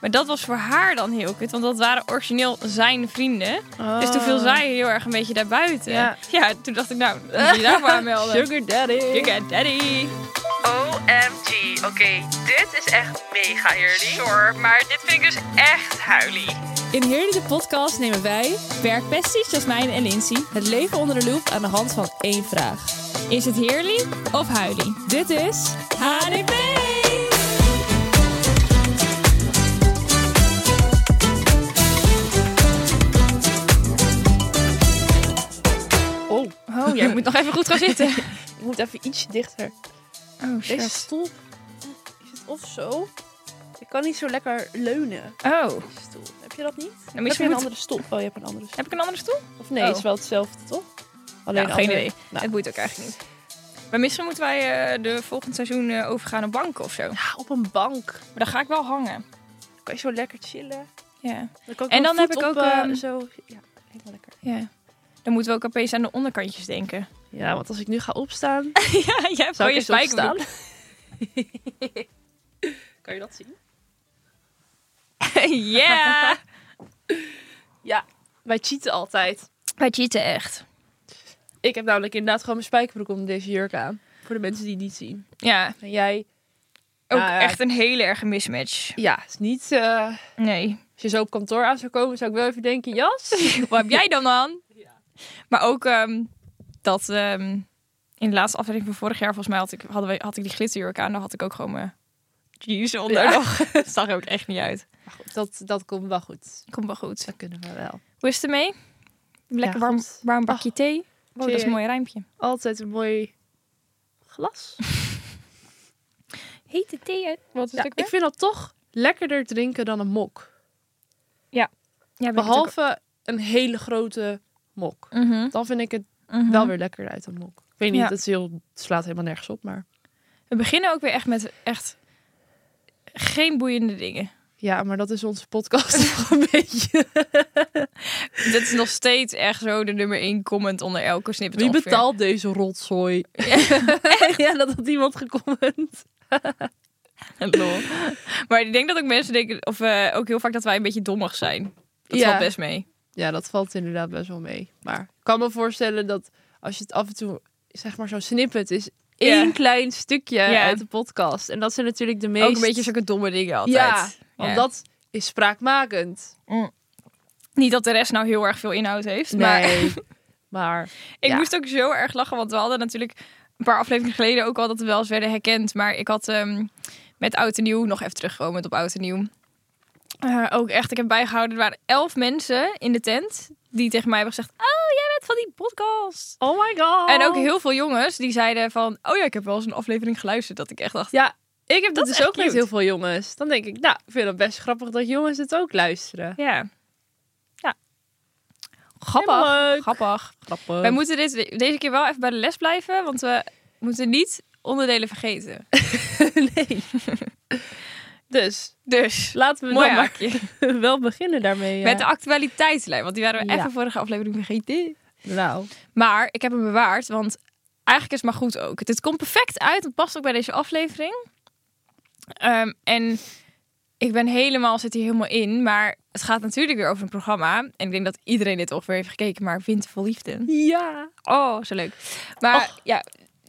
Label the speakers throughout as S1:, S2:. S1: Maar dat was voor haar dan heel kut, want dat waren origineel zijn vrienden.
S2: Oh.
S1: Dus toen viel zij heel erg een beetje daarbuiten.
S2: Ja.
S1: toen dacht ik, nou, moet je daar maar aanmelden.
S2: Sugar daddy.
S1: Sugar daddy.
S3: OMG. Oké, dit is echt mega eerlijk. Sorry, maar dit vind ik dus echt huilie.
S2: In Heerlijke Podcast nemen wij, werkpesties Jasmijn en Lindsay, het leven onder de loep aan de hand van één vraag.
S1: Is het heerlijk of huilie?
S2: Dit is HDP! Oh,
S1: Oh, jij moet nog even goed gaan zitten.
S2: ik moet even iets dichter.
S1: Oh,
S2: Deze
S1: shit.
S2: stoel is het of zo. Ik kan niet zo lekker leunen.
S1: Oh,
S2: Deze stoel. Heb je dat niet?
S1: dan
S2: heb
S1: moet je
S2: je een
S1: goed...
S2: andere stoel? Oh, je hebt een andere stoel.
S1: Heb ik een andere stoel?
S2: Of nee,
S1: Oh.
S2: het is wel hetzelfde, toch? Alleen
S1: Nou, geen
S2: een andere-
S1: idee.
S2: Nou.
S1: Het boeit ook eigenlijk niet. Maar misschien moeten wij eh, de volgend seizoen eh, overgaan op banken of zo. Maar
S2: Ah, op een bank.
S1: dan ga ik wel hangen.
S2: kan je zo lekker chillen.
S1: Ja,
S2: Dan kan
S1: En
S2: ik mijn
S1: dan
S2: voet
S1: heb ik
S2: op,
S1: ook,
S2: eh,
S1: ehm,
S2: zo, ja, helemaal lekker.
S1: ja. Dan moeten we ook opeens aan de onderkantjes denken.
S2: Ja, want als ik nu ga opstaan,
S1: ja, jij hebt
S2: zou
S1: gewoon
S2: ik
S1: je
S2: eens
S1: spijkerbroek.
S2: opstaan. kan je dat zien?
S1: Ja!
S2: Ja, wij cheaten altijd.
S1: Wij cheaten echt.
S2: Ik heb namelijk inderdaad gewoon mijn spijkerbroek onder deze jurk aan. Voor de mensen die het niet zien.
S1: Ja,
S2: En jij?
S1: ook
S2: Nou ja.
S1: echt een hele erge mismatch.
S2: Ja, is niet... eh,
S1: Nee.
S2: als je zo op kantoor aan zou komen, zou ik wel even denken, jas?
S1: Wat heb jij dan aan? Maar ook ehm, dat ehm, in de laatste aflevering van vorig jaar, volgens mij had ik, hadden we, had ik die glitterjurk aan. Dan had ik ook gewoon mijn jeans onder.
S2: Ja.
S1: nog. Dat zag er ook echt niet uit.
S2: Maar goed, dat, dat komt wel goed.
S1: Komt wel goed.
S2: Dat kunnen we wel.
S1: Hoe is het ermee? Een Lekker
S2: Ja,
S1: warm,
S2: goed.
S1: warm bakje thee. Oh, dat is
S2: thee.
S1: een mooi rijmpje.
S2: Altijd een mooi glas.
S1: Hete thee. hè? Wat is
S2: Ja,
S1: het ook
S2: ik
S1: weer?
S2: vind dat toch lekkerder drinken dan een mok.
S1: Ja, weet ik het ook-
S2: Behalve een hele grote mok.
S1: Mhm,
S2: Dan vind ik het
S1: mhm.
S2: wel weer lekker uit een mok. Ik weet niet,
S1: Ja.
S2: het, is heel, het slaat helemaal nergens op, maar...
S1: We beginnen ook weer echt met echt geen boeiende dingen.
S2: Ja, maar dat is onze podcast nog een beetje.
S1: Dit is nog steeds echt zo de nummer één comment onder elke snippet.
S2: Wie
S1: ongeveer.
S2: betaalt deze rotzooi? ja, dat had iemand gecomment.
S1: Lol. Maar ik denk dat ook mensen denken, of eh, ook heel vaak dat wij een beetje dommig zijn. Dat
S2: Ja.
S1: valt best mee.
S2: Ja, dat valt inderdaad best wel mee. Maar ik kan me voorstellen dat als je het af en toe, zeg maar zo'n snippet is...
S1: Ja.
S2: één klein stukje
S1: Ja.
S2: uit de podcast. En dat zijn natuurlijk de meest...
S1: Ook een beetje zulke domme dingen altijd. Mm.
S2: Ja, want dat is spraakmakend.
S1: Niet dat de rest nou heel erg veel inhoud heeft. Maar
S2: Maar... maar
S1: ik
S2: ja.
S1: moest ook zo erg lachen, want we hadden natuurlijk een paar afleveringen geleden ook al dat we wel eens werden herkend. Maar ik had ehm, met Oud en Nieuw, nog even teruggekomen op Oud en Nieuw. eh, ook echt, ik heb bijgehouden, er waren elf mensen in de tent die tegen mij hebben gezegd... Oh, jij bent van die podcast.
S2: Oh my god.
S1: En ook heel veel jongens die zeiden van... Oh ja, ik heb wel eens een aflevering geluisterd. Dat ik echt dacht...
S2: Ja, ik heb dat,
S1: is
S2: dus
S1: echt
S2: ook met
S1: cute.
S2: heel veel jongens. Dan denk ik, nou, ik vind het best grappig dat jongens het ook luisteren.
S1: Ja. Ja. Grappig.
S2: Helemaal leuk.
S1: Grappig.
S2: Grappig.
S1: Wij moeten dit, deze keer wel even bij de les blijven. Want we moeten niet onderdelen vergeten.
S2: nee. dus,
S1: Dus...
S2: laten we
S1: Mooi
S2: dan
S1: haakje.
S2: maar wel beginnen daarmee. eh.
S1: Met de actualiteitslijn. Want die waren we
S2: Ja.
S1: even vorige aflevering vergeten.
S2: Nou,
S1: Maar ik heb hem bewaard. Want eigenlijk is het maar goed ook. Dit komt perfect uit. Het past ook bij deze aflevering. Ehm, en ik ben helemaal, zit hier helemaal in. Maar het gaat natuurlijk weer over een programma. En ik denk dat iedereen dit ongeveer heeft gekeken. Maar Wintervol Liefde.
S2: ja.
S1: Oh, zo leuk. Maar
S2: Och.
S1: ja,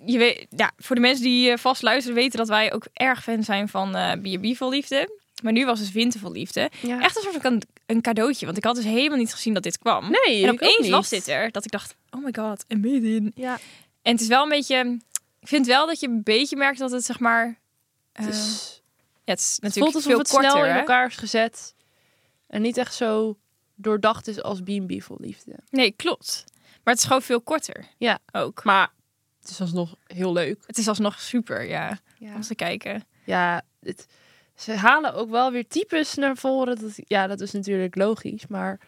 S1: je weet, ja, voor de mensen die eh, vast luisteren weten dat wij ook erg fan zijn van eh B&B Vol Liefde. Maar nu was het Wintervol Liefde.
S2: ja.
S1: Echt alsof ik een, een cadeautje. Want ik had dus helemaal niet gezien dat dit kwam.
S2: Nee,
S1: en
S2: ik ook
S1: opeens
S2: niet.
S1: was dit er. Dat ik dacht, oh my god, en in.
S2: Ja.
S1: En het is wel een beetje. Ik vind wel dat je een beetje merkt dat het zeg maar. eh,
S2: Het, is,
S1: ja, het is
S2: het
S1: natuurlijk
S2: voelt alsof
S1: veel
S2: het
S1: korter.
S2: snel in
S1: hè?
S2: elkaar is gezet. En niet echt zo doordacht is als B&B vol liefde.
S1: Nee, klopt. Maar het is gewoon veel korter.
S2: Ja.
S1: Ook.
S2: Maar het is alsnog heel leuk.
S1: Het is alsnog super, ja.
S2: Ja.
S1: Om te kijken.
S2: Ja, het, ze halen ook wel weer types naar voren. Dat, ja, dat is natuurlijk logisch, maar...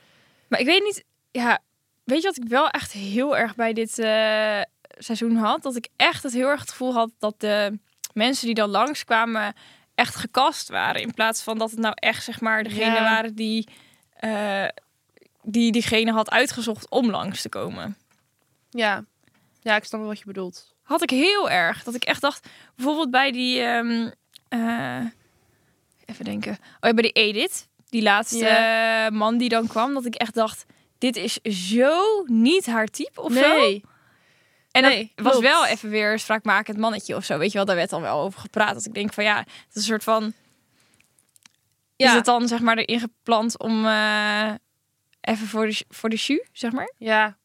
S1: Maar ik weet niet. Ja, weet je wat ik wel echt heel erg bij dit eh, seizoen had? Dat ik echt het heel erg het gevoel had dat de mensen die dan langskwamen echt gekast waren. In plaats van dat het nou echt zeg maar degene
S2: Ja.
S1: waren die. eh, die diegene had uitgezocht om langs te komen.
S2: Ja, ja ik snap wel wat je bedoelt.
S1: had ik heel erg. Dat ik echt dacht, bijvoorbeeld bij die. ehm, eh, even denken. Oh ja, bij die Edith, die laatste eh, man die dan kwam, dat ik echt dacht, dit is zo niet haar type of zo.
S2: Nee.
S1: En dat
S2: nee,
S1: was
S2: klopt.
S1: wel even weer een spraakmakend mannetje of zo. Weet je wel, daar werd dan wel over gepraat. Dat ik denk van ja, het is een soort van...
S2: Ja.
S1: Is het dan zeg maar erin geplant om eh, even voor de, sh- voor de shoe, zeg maar?
S2: Ja.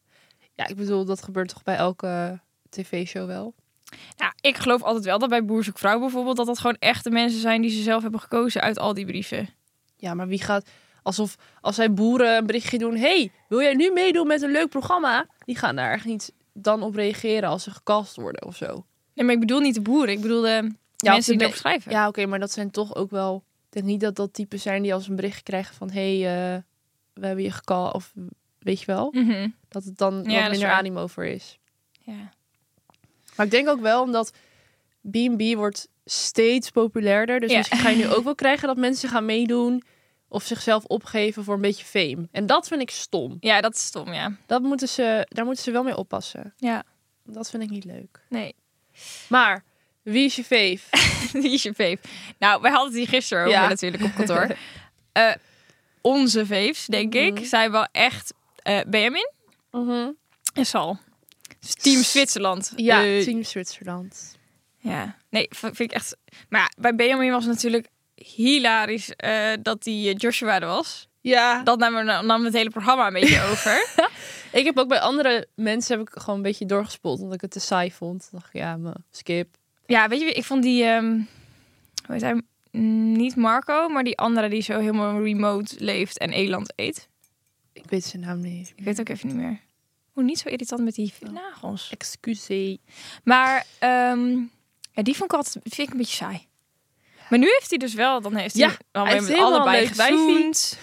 S2: Ja, ik bedoel, dat gebeurt toch bij elke tv-show wel?
S1: Ja, ik geloof altijd wel dat bij Boer zoekt Vrouw bijvoorbeeld... dat dat gewoon echte mensen zijn die ze zelf hebben gekozen uit al die brieven.
S2: Ja, maar wie gaat... Alsof als zij boeren een berichtje doen... hey, wil jij nu meedoen met een leuk programma? Die gaan daar echt niet dan op reageren als ze gecast worden of zo.
S1: Nee, maar ik bedoel niet de boeren. Ik bedoel de
S2: of
S1: mensen
S2: de
S1: die
S2: me-
S1: erop schrijven.
S2: Ja, oké, maar dat zijn toch ook wel... Ik denk niet dat dat typen zijn die als een bericht krijgen van... hey, eh, we hebben je gecast of weet je wel.
S1: Mhm.
S2: Dat het dan
S1: dat
S2: wat
S1: is
S2: minder
S1: waar.
S2: animo voor is.
S1: ja.
S2: Maar ik denk ook wel omdat B&B wordt steeds populairder. Dus
S1: Ja.
S2: misschien ga je nu ook wel krijgen dat mensen gaan meedoen of zichzelf opgeven voor een beetje fame. En dat vind ik stom.
S1: Ja, dat is stom, ja.
S2: Dat moeten ze, daar moeten ze wel mee oppassen.
S1: Ja,
S2: Dat vind ik niet leuk.
S1: nee.
S2: Maar wie is je fave?
S1: Die is je veef. Nou, wij hadden het hier gisteren over
S2: Ja.
S1: natuurlijk op kantoor. Eh, onze veefs, denk ik,
S2: Mhm.
S1: zijn wel echt eh, Benjamin en Sal. Dus Team Zwitserland.
S2: Ja,
S1: Eh,
S2: Team Zwitserland.
S1: ja. Nee, v- vind ik echt... Maar ja, bij Benjamin was het natuurlijk hilarisch eh, dat die eh, Joshua er was.
S2: Ja,
S1: Dat nam, er- nam het hele programma een beetje over.
S2: ik heb ook bij andere mensen heb ik gewoon een beetje doorgespoeld omdat ik het te saai vond. Dan dacht ik, ja, me skip.
S1: Ja, weet je, wie- ik vond die. ehm, hoe heet hij? Mm, Niet Marco, maar die andere die zo helemaal remote leeft en eland eet.
S2: Ik weet zijn naam niet.
S1: Ik weet ook even niet meer. Hoe niet zo irritant met die nagels.
S2: Excuseer.
S1: Maar ehm, ja, die vond ik altijd vind ik een beetje saai. Maar nu heeft hij dus wel, dan heeft
S2: Ja,
S1: hij dan
S2: hij
S1: weer
S2: is
S1: met
S2: helemaal
S1: allebei
S2: leuk wijfie.
S1: gezoend.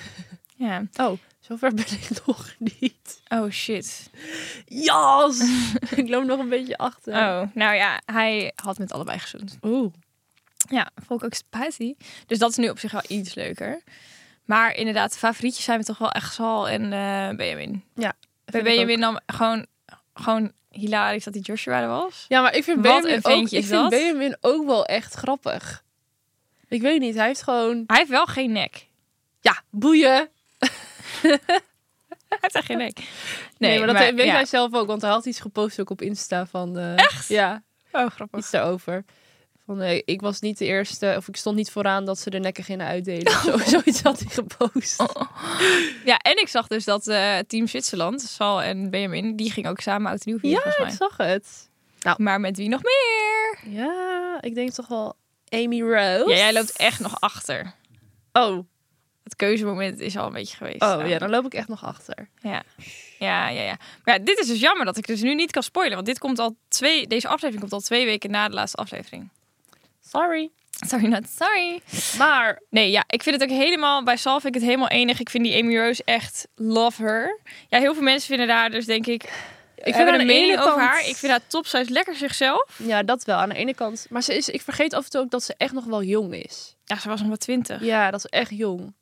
S1: Ja.
S2: Oh, zover ben ik nog niet.
S1: Oh shit.
S2: Jas! ik loop nog een beetje achter.
S1: Oh, nou ja, hij had met allebei gezoend.
S2: Oeh.
S1: Ja, vond ik ook spicy. Dus dat is nu op zich wel iets leuker. Maar inderdaad, favorietjes zijn we toch wel echt Sal en eh, Benjamin. Bij Benjamin nam gewoon, gewoon hilarisch dat die Joshua er was.
S2: Ja, maar ik vind
S1: Wat
S2: Benjamin,
S1: een
S2: ook,
S1: ventje
S2: ik
S1: is
S2: vind
S1: dat?
S2: Benjamin ook wel echt grappig. Ik weet niet, hij heeft gewoon...
S1: Hij heeft wel geen nek.
S2: Ja, boeien.
S1: Hij heeft echt geen nek. Nee,
S2: Nee, maar dat weet
S1: ja.
S2: hij zelf ook. Want hij had iets gepost ook op Insta van... echt? Ja,
S1: Oh, grappig.
S2: iets daarover. Van, eh, ik was niet de eerste, of ik stond niet vooraan dat ze de nekken in uitdelen.
S1: Oh.
S2: of Zo, zoiets had hij gepost.
S1: Ja, en ik zag dus dat eh, Team Zwitserland, Sal en Benjamin, die gingen ook samen oud en nieuw vieren,
S2: ja, ik
S1: volgens
S2: zag het.
S1: mij. Maar met wie nog meer?
S2: Ja, ik denk toch wel Amy Rose.
S1: Ja, jij loopt echt nog achter.
S2: Oh,
S1: Het keuzemoment is al een beetje geweest.
S2: Oh
S1: Nou,
S2: ja, dan loop ik echt nog achter.
S1: Ja. Ja, ja, ja. Maar ja, dit is dus jammer dat ik dus nu niet kan spoilen. Want dit komt al twee, deze aflevering komt al twee weken na de laatste aflevering.
S2: Sorry.
S1: Sorry, not sorry.
S2: Maar
S1: Nee, ja, ik vind het ook helemaal... Bij Sal vind ik het helemaal enig. Ik vind die Amy Rose echt love her. Ja, heel veel mensen vinden daar dus denk ik... Ik vind
S2: aan
S1: er
S2: de
S1: een
S2: ene
S1: mening
S2: kant-
S1: over haar. Ik vind haar top. Zij is lekker zichzelf.
S2: ja, dat wel aan de ene kant. Maar ze is, ik vergeet af en toe ook dat ze echt nog wel jong is.
S1: Ja, ze was nog maar twintig.
S2: Ja, dat is echt jong.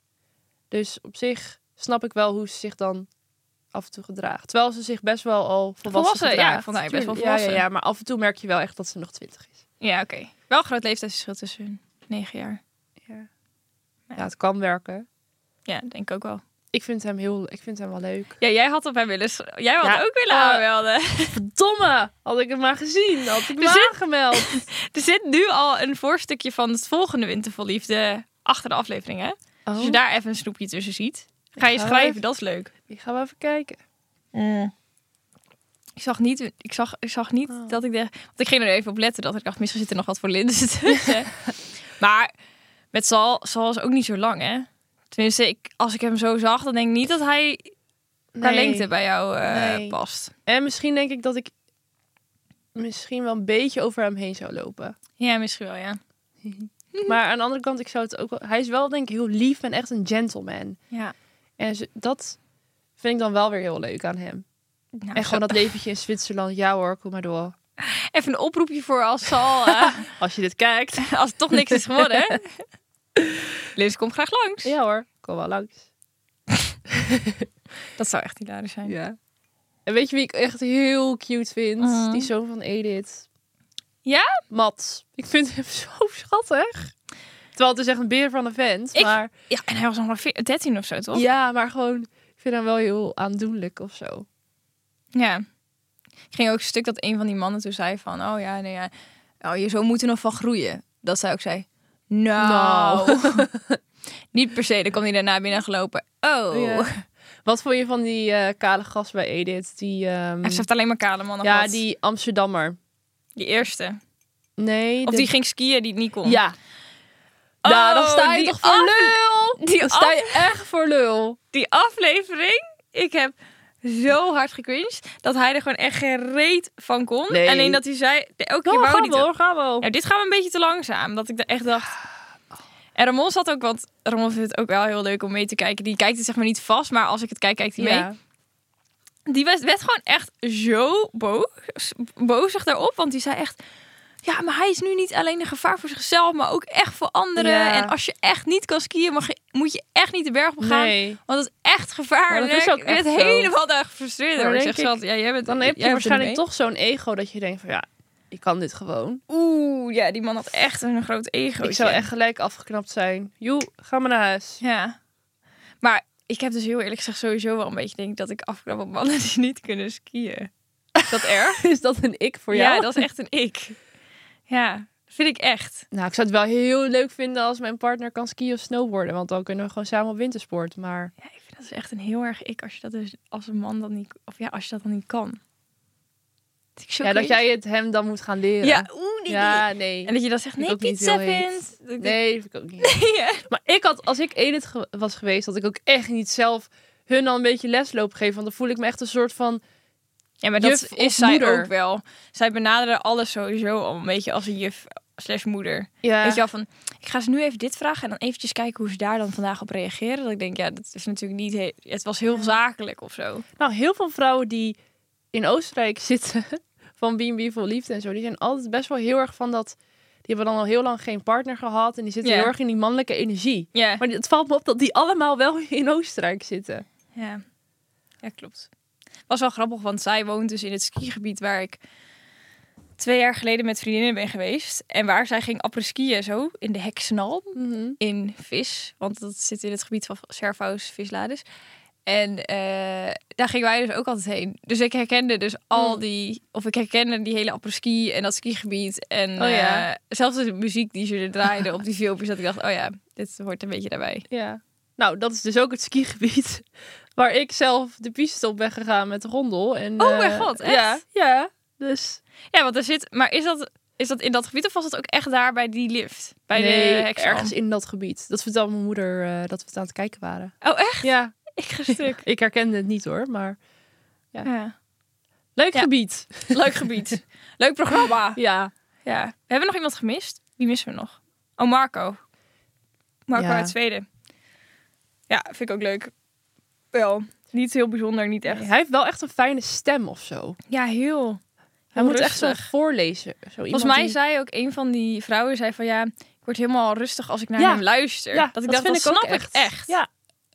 S2: Dus op zich snap ik wel hoe ze zich dan af en toe gedraagt. Terwijl ze zich best wel al volwassen,
S1: Volwassen, ja,
S2: gedraagt.
S1: ik vond haar best wel
S2: Tuurlijk, ja, Ja,
S1: volwassen.
S2: ja, maar af en toe merk je wel echt dat ze nog twintig is.
S1: Ja, oké. Wel een groot leeftijdsverschil tussen hun. Negen jaar.
S2: Ja. ja, het kan werken.
S1: Ja, denk ik ook wel.
S2: Ik vind hem heel, ik vind hem wel leuk.
S1: Ja, jij had op hem willen... s- Jij had
S2: Ja,
S1: ook willen
S2: eh,
S1: aanmelden.
S2: Domme, had ik hem maar gezien, had ik
S1: Er
S2: me
S1: zit-
S2: aangemeld.
S1: Er zit nu al een voorstukje van het volgende Winter vol Liefde achter de aflevering, hè?
S2: Oh,
S1: Als je daar even een snoepje tussen ziet, ga je
S2: ga
S1: schrijven.
S2: even-
S1: Dat is leuk.
S2: die gaan we even kijken.
S1: Mm. Ik zag niet, ik zag, ik zag niet
S2: Oh.
S1: dat ik dacht... Want ik ging er even op letten dat ik dacht, misschien zit er nog wat voor linzen tussen. maar met Sal, Sal is ook niet zo lang, hè? Tenminste, ik, als ik hem zo zag, dan denk ik niet dat hij qua lengte bij jou eh,
S2: Nee.
S1: past.
S2: En misschien denk ik dat ik misschien wel een beetje over hem heen zou lopen.
S1: Ja, misschien wel, ja.
S2: Maar aan de andere kant, ik zou het ook wel... Hij is wel, denk ik, heel lief en echt een gentleman.
S1: Ja.
S2: En ze- dat vind ik dan wel weer heel leuk aan hem.
S1: Nou,
S2: En
S1: zo-
S2: gewoon dat leventje in Zwitserland. Ja hoor, kom maar door.
S1: Even een oproepje voor als Sal, eh,
S2: Als je dit kijkt.
S1: als het toch niks is geworden. Liz, kom graag langs.
S2: Ja hoor, kom wel langs.
S1: Dat zou echt hilarisch zijn.
S2: Ja. En weet je wie ik echt heel cute vind?
S1: Mhm.
S2: Die zoon van Edith.
S1: Ja?
S2: Mats. Ik vind hem zo schattig. Terwijl het is echt een beer van een vent.
S1: Ik-
S2: Maar,
S1: Ja, en hij was nog maar veer- 13 of zo, toch?
S2: ja, maar gewoon, ik vind hem wel heel aandoenlijk of zo.
S1: Ja. Ik ging ook een stuk dat een van die mannen toen zei van... Oh ja, nee, ja. Oh, je zo moet er nog van groeien. Dat zij ook zei... Nou. Niet per se. Dan kwam hij daarna binnen gelopen. Oh.
S2: Ja. Wat vond je van die eh, kale gast bij Edith? Die, ehm,
S1: En ze heeft alleen maar kale mannen
S2: ja,
S1: gehad.
S2: die Amsterdammer.
S1: Die eerste.
S2: Nee.
S1: Of
S2: de-
S1: die ging skiën die het niet kon.
S2: Ja.
S1: Oh,
S2: nou, dan sta je
S1: die
S2: toch voor
S1: af-
S2: lul.
S1: die
S2: dan sta je echt voor lul.
S1: Die aflevering. Ik heb zo hard gecringed. Dat hij er gewoon echt geen reet van kon.
S2: Nee.
S1: Alleen dat hij zei... Elke keer
S2: Oh,
S1: wou hij
S2: gaan
S1: niet.
S2: we hoor, gaan we.
S1: Nou, dit gaat een beetje te langzaam. Dat ik da- echt dacht. En Ramon zat ook, want Ramon vindt het ook wel heel leuk om mee te kijken. Die kijkt het zeg maar niet vast, maar als ik het kijk, kijkt hij
S2: Ja.
S1: mee. Die werd, werd gewoon echt zo boos, bozig daarop. Want die zei echt... Ja, maar hij is nu niet alleen een gevaar voor zichzelf, maar ook echt voor anderen.
S2: Ja.
S1: En als je echt niet kan skiën, mag je, moet je echt niet de berg op gaan.
S2: Nee.
S1: Want dat is echt gevaarlijk.
S2: Maar dat is ook
S1: ik werd
S2: echt zo.
S1: helemaal daar gefrustreerd
S2: Maar
S1: door. Ik
S2: denk
S1: zeg,
S2: ik-
S1: schat, ja, jij bent,
S2: Dan
S1: jij
S2: heb je
S1: hebt er
S2: waarschijnlijk
S1: mee.
S2: toch zo'n ego dat je denkt van ja, ik kan dit gewoon.
S1: Oeh, ja, die man had echt een groot ego.
S2: Ik zou echt gelijk afgeknapt zijn. Joe, ga maar naar huis.
S1: Ja. Maar ik heb dus heel eerlijk gezegd sowieso wel een beetje denk ik dat ik afknap op mannen die niet kunnen skiën. Is dat erg?
S2: Is dat een ik voor jou?
S1: Ja, dat is echt een ik. Ja, dat vind ik echt.
S2: Nou, ik zou het wel heel leuk vinden als mijn partner kan skiën of snowboarden. Want dan kunnen we gewoon samen op wintersport. Maar
S1: Ja, ik vind dat is echt een heel erg ik als je dat dus als een man dan niet of ja, als je dat dan niet kan. Dat ik zo
S2: ja, dat
S1: crazy-
S2: jij het hem dan moet gaan leren.
S1: ja, oeh, nee, nee.
S2: Ja, nee.
S1: En dat je dan zegt
S2: Ik
S1: nee,
S2: ook niet
S1: pizza
S2: heel heet.
S1: vindt. Dat ik denk,
S2: Nee, dat vind ik ook niet.
S1: ja.
S2: Maar ik had, als ik Edith ge- was geweest, had ik ook echt niet zelf hun al een beetje les lopen geven. Want dan voel ik me echt een soort van...
S1: Ja, maar dat
S2: Juf of
S1: is zij
S2: moeder.
S1: ook wel. Zij benaderen alles sowieso al een beetje als een juf slash moeder.
S2: Ja,
S1: Weet je wel, van ik ga ze nu even dit vragen en dan eventjes kijken hoe ze daar dan vandaag op reageren. Dat ik denk, ja, dat is natuurlijk niet. he- Het was heel zakelijk of zo.
S2: Nou, heel veel vrouwen die in Oostenrijk zitten van B&B voor liefde en zo, die zijn altijd best wel heel erg van dat... Die hebben dan al heel lang geen partner gehad en die zitten
S1: Ja.
S2: heel erg in die mannelijke energie.
S1: Ja,
S2: Maar het valt me op dat die allemaal wel in Oostenrijk zitten.
S1: ja. ja klopt. Was wel grappig, want zij woont dus in het skigebied waar ik twee jaar geleden met vriendinnen ben geweest. En waar zij ging apres-skiën zo in de Heksenal. in vis. Want dat zit in het gebied van Servaus, Vislades. En eh, daar gingen wij dus ook altijd heen. Dus ik herkende dus al
S2: Mm.
S1: die... Of ik herkende die hele apres-ski en dat skigebied. En
S2: Oh ja.
S1: eh, zelfs de muziek die ze er draaiden op die filmpjes. Dat ik dacht, oh ja, dit hoort een beetje daarbij.
S2: Ja. Nou, dat is dus ook het skigebied waar ik zelf de piste op ben gegaan met de rondel. En,
S1: Oh mijn
S2: eh,
S1: god, echt?
S2: Ja, ja. Dus
S1: Ja, want er zit... Maar is dat, is dat in dat gebied of was dat ook echt daar bij die lift? Bij
S2: nee,
S1: de heksen?
S2: ergens in dat gebied. Dat vertelde mijn moeder eh, dat we het aan het kijken waren.
S1: Oh, echt?
S2: Ja,
S1: Ik ga stuk.
S2: ik herkende het niet hoor, maar
S1: Ja.
S2: leuk
S1: Ja.
S2: gebied.
S1: Leuk gebied. Leuk programma.
S2: Ja.
S1: Ja. We hebben nog iemand gemist. Wie missen we nog? Oh, Marco. Marco
S2: Ja.
S1: uit Zweden. Ja, vind ik ook leuk. Wel, niet heel bijzonder, niet echt.
S2: Hij heeft wel echt een fijne stem of zo.
S1: Ja, heel.
S2: Hij moet echt
S1: rustig.
S2: zo voorlezen. Zo iemand
S1: Volgens mij
S2: die-
S1: zei ook een van die vrouwen zei van ja, ik word helemaal rustig als ik naar
S2: Ja.
S1: hem luister.
S2: Ja,
S1: dat ik dacht, dat snap ik echt.
S2: Ja,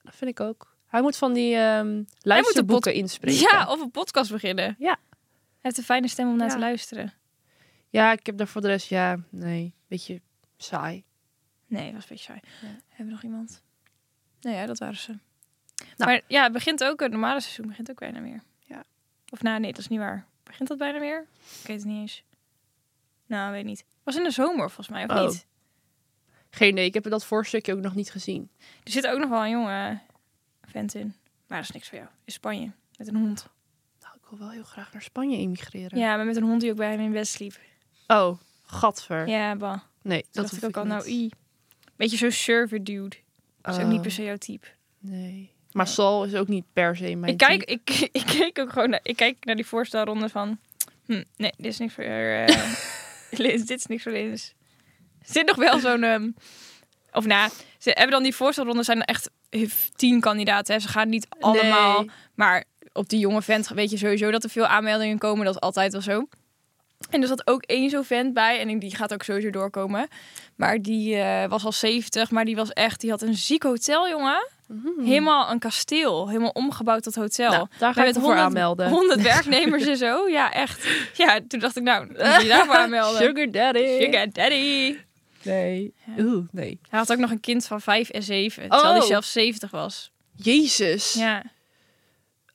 S2: dat vind ik ook. Hij moet van die ehm luisterboeken inspreken.
S1: Ja, of een podcast beginnen.
S2: Ja.
S1: Hij heeft een fijne stem om naar
S2: Ja.
S1: te luisteren.
S2: Ja, ik heb daar voor de rest, ja, nee, beetje saai.
S1: Nee, dat was een beetje saai.
S2: Ja.
S1: Hebben we nog iemand? Nee, ja, dat waren ze. Maar ja, het begint ook, het normale seizoen begint ook bijna meer.
S2: Nou. Ja.
S1: Of nou, nee, dat is niet waar. Begint dat bijna meer? Ik weet het niet eens. Nou, weet niet. Was in de zomer volgens mij, of
S2: Oh.
S1: niet?
S2: Geen idee, ik heb dat voorstukje ook nog niet gezien.
S1: Er zit ook nog wel een jonge vent in. Maar dat is niks voor jou. In Spanje. Met een hond.
S2: Nou, ik wil wel heel graag naar Spanje emigreren.
S1: Ja, maar met een hond die ook bij hem in bed sliep.
S2: Oh, gadver.
S1: Ja, bah. Toen
S2: Nee, dat
S1: dacht
S2: hoef
S1: ik ook al, nou,
S2: niet.
S1: i. Beetje zo'n server dude. Dat is ook
S2: Oh,
S1: niet per se jouw type.
S2: Nee. Maar Sal is ook niet per se mijn
S1: Ik kijk,
S2: type.
S1: ik, ik kijk ook gewoon naar, ik kijk naar die voorstelronde van... Hm, nee, dit is niks voor eh Lins. Dit is niks voor Lins. Er zit nog wel zo'n... ehm, of nou, ze hebben dan die voorstelronde zijn er echt eh, tien kandidaten. Hè. Ze gaan niet allemaal...
S2: Nee.
S1: Maar op die jonge vent weet je sowieso dat er veel aanmeldingen komen. Dat is altijd wel zo. En er zat ook één zo'n vent bij. En die gaat ook sowieso doorkomen. Maar die eh, was al 70. Maar die was echt... Die had een ziek hotel, jongen.
S2: Mhm.
S1: Helemaal een kasteel. Helemaal omgebouwd tot hotel.
S2: Nou, daar ga
S1: Met
S2: ik me voor aanmelden.
S1: 100 werknemers en zo. Ja, echt. Ja, toen dacht ik, nou, dan moet je daar maar aanmelden.
S2: Sugar daddy.
S1: Sugar daddy.
S2: Nee.
S1: Ja.
S2: Oeh, nee.
S1: Hij had ook nog een kind van 5 en 7, terwijl
S2: Oh.
S1: hij zelf 70 was.
S2: Jezus.
S1: Ja.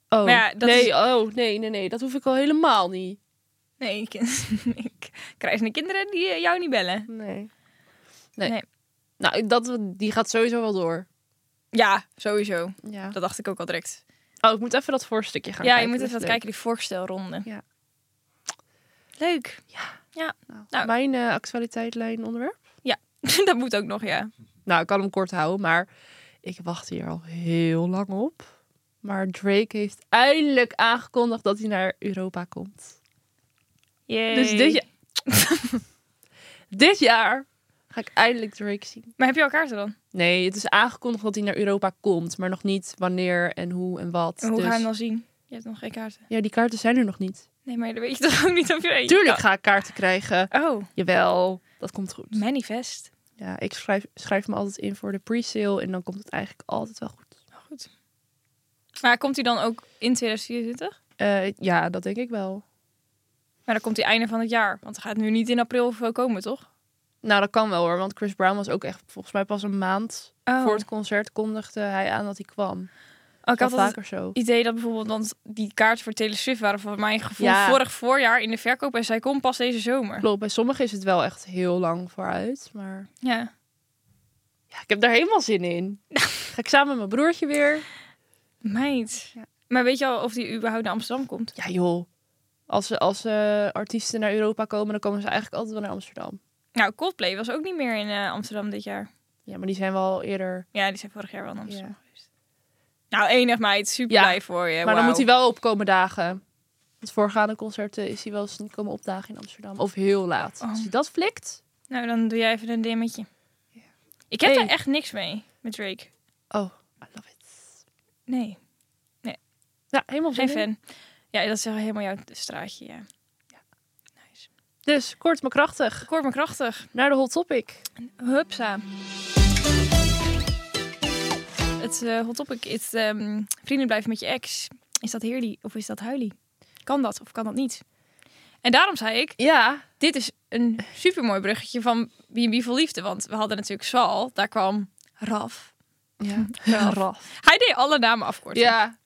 S2: Oh,
S1: Maar ja, dat
S2: nee,
S1: is-
S2: oh, nee, nee, nee. Dat hoef ik al helemaal niet.
S1: Nee, ik, ik krijg de kinderen die eh, jou niet bellen.
S2: Nee. Nee.
S1: Nee.
S2: Nou, dat, die gaat sowieso wel door.
S1: Ja, sowieso.
S2: Ja.
S1: Dat dacht ik ook al direct.
S2: Oh, ik moet even dat voorstukje gaan
S1: ja,
S2: kijken.
S1: je moet
S2: dat
S1: even wat
S2: is leuk.
S1: kijken, die voorstelronde.
S2: Ja.
S1: Leuk.
S2: Nou,
S1: Nou.
S2: Mijn eh, actualiteitlijn onderwerp?
S1: dat moet ook nog, ja.
S2: Nou, ik kan hem kort houden, maar ik wacht hier al heel lang op. Maar Drake heeft eindelijk aangekondigd dat hij naar Europa komt.
S1: Yay.
S2: Dus dit, ja- dit jaar ga ik eindelijk Drake zien.
S1: Maar heb je elkaar dan?
S2: Nee, het is aangekondigd dat hij naar Europa komt, maar nog niet wanneer en hoe en wat.
S1: En hoe
S2: dus...
S1: ga je hem dan zien? Je hebt nog geen kaarten.
S2: Ja, die kaarten zijn er nog niet.
S1: Nee, maar dan weet je toch ook niet of je...
S2: Tuurlijk ga ik kaarten krijgen.
S1: Oh,
S2: Jawel, dat komt goed.
S1: manifest.
S2: Ja, ik schrijf, schrijf me altijd in voor de pre-sale en dan komt het eigenlijk altijd wel goed.
S1: Oh, goed. Maar komt hij dan ook in 2024?
S2: Eh, ja, dat denk ik wel.
S1: Maar dan komt hij einde van het jaar. Want hij gaat nu niet in april of zo komen, toch?
S2: Nou, dat kan wel hoor, want Chris Brown was ook echt volgens mij pas een maand
S1: Oh,
S2: voor het concert kondigde hij aan dat hij kwam.
S1: Oh, ik
S2: Al
S1: had altijd
S2: vaker zo.
S1: het idee dat bijvoorbeeld... Want die kaarten voor Taylor Swift waren voor mijn gevoel
S2: Ja.
S1: vorig voorjaar in de verkoop. En zij komt pas deze zomer.
S2: Klopt, bij sommigen is het wel echt heel lang vooruit, maar
S1: Ja.
S2: ja, ik heb daar helemaal zin in. Ga ik samen met mijn broertje weer?
S1: Meid.
S2: Ja.
S1: Maar weet je al of die überhaupt naar Amsterdam komt?
S2: Ja joh, als, als eh, artiesten naar Europa komen, dan komen ze eigenlijk altijd wel naar Amsterdam.
S1: Nou, Coldplay was ook niet meer in eh, Amsterdam dit jaar.
S2: Ja, maar die zijn wel eerder.
S1: Ja, die zijn vorig jaar wel in Amsterdam
S2: Ja.
S1: geweest. Nou, enig meid. Super
S2: Ja.
S1: blij voor je.
S2: maar dan
S1: Wauw.
S2: moet hij wel opkomen dagen. Want voorgaande concerten is hij wel eens niet komen opdagen in Amsterdam. Of heel laat.
S1: Oh.
S2: Als hij dat flikt.
S1: Nou, dan doe jij even een dimmetje. Ik heb
S2: Hey.
S1: daar echt niks mee met Drake.
S2: Oh, I love it.
S1: Nee,
S2: Ja, helemaal
S1: geen
S2: zin in.
S1: fan. Ja, dat is wel helemaal jouw straatje, ja. Nice.
S2: Dus kort maar krachtig.
S1: Ik hoor me krachtig.
S2: Naar de hot topic.
S1: Hupsa. Het eh, hot topic is ehm, vrienden blijven met je ex. Is dat heerly of is dat huilie? Kan dat of kan dat niet? En daarom zei ik,
S2: Ja.
S1: dit is een supermooi bruggetje van B&B voor Liefde. Want we hadden natuurlijk Sal, daar kwam Raf.
S2: Ja.
S1: Hij deed alle namen afkorten.
S2: Ja.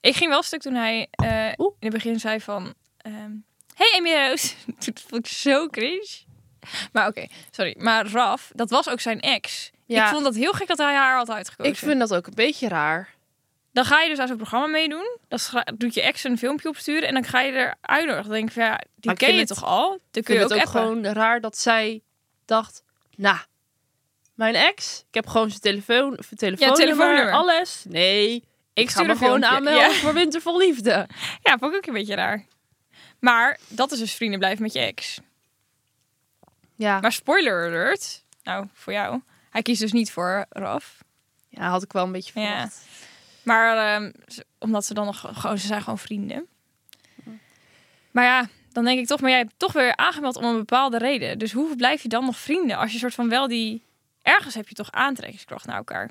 S1: Ik ging wel stuk toen hij eh,
S2: Oeh.
S1: in het begin zei van... ehm, hey Amy Rose. Toen vond ik zo cringe. Maar oké, sorry. Maar Raf, dat was ook zijn ex.
S2: Ja.
S1: Ik vond dat heel gek dat hij haar had uitgekozen.
S2: Ik vind dat ook een beetje raar.
S1: Dan ga je dus aan zo'n programma meedoen. Dan schra- doet je ex een filmpje opsturen. En dan ga je er uitnodigen. Dan denk ik van, ja, die
S2: Maar ik
S1: ken je
S2: vind het-
S1: toch al? Dan
S2: Ik
S1: kun
S2: vind
S1: je
S2: het
S1: ook,
S2: ook
S1: appen.
S2: gewoon raar dat zij dacht... Nou, mijn ex. Ik heb gewoon zijn telefoon, telefoonnummer,
S1: telefoonnummer.
S2: alles. Nee, ik, ga
S1: stuur
S2: me
S1: een
S2: gewoon
S1: filmpje.
S2: aanmelden
S1: Ja.
S2: voor Winter vol Liefde.
S1: Ja, vond ik ook een beetje raar. Maar dat is dus vrienden blijven met je ex.
S2: Ja.
S1: Maar spoiler alert. Nou, voor jou. Hij kiest dus niet voor Raf.
S2: ja, had ik wel een beetje
S1: Ja.
S2: verwacht.
S1: Maar ehm, ze- omdat ze dan nog gewoon, ze zijn gewoon vrienden. Maar ja, dan denk ik toch, maar jij hebt toch weer aangemeld om een bepaalde reden. Dus hoe blijf je dan nog vrienden als je soort van wel die. Ergens heb je toch aantrekkingskracht naar elkaar.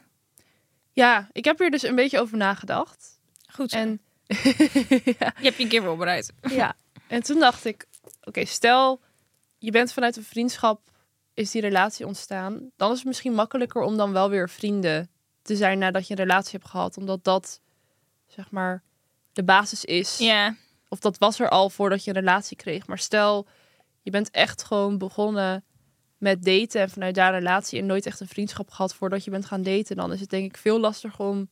S2: Ja, ik heb hier dus een beetje over nagedacht.
S1: Goed. En
S2: En
S1: je hebt je een keer voorbereid.
S2: ja, en toen dacht ik, oké, stel je bent vanuit een vriendschap is die relatie ontstaan, dan is het misschien makkelijker om dan wel weer vrienden te zijn nadat je een relatie hebt gehad, omdat dat zeg maar de basis is.
S1: Ja.
S2: Of dat was er al voordat je een relatie kreeg. Maar stel je bent echt gewoon begonnen met daten en vanuit daar een relatie en nooit echt een vriendschap gehad voordat je bent gaan daten, dan is het denk ik veel lastiger om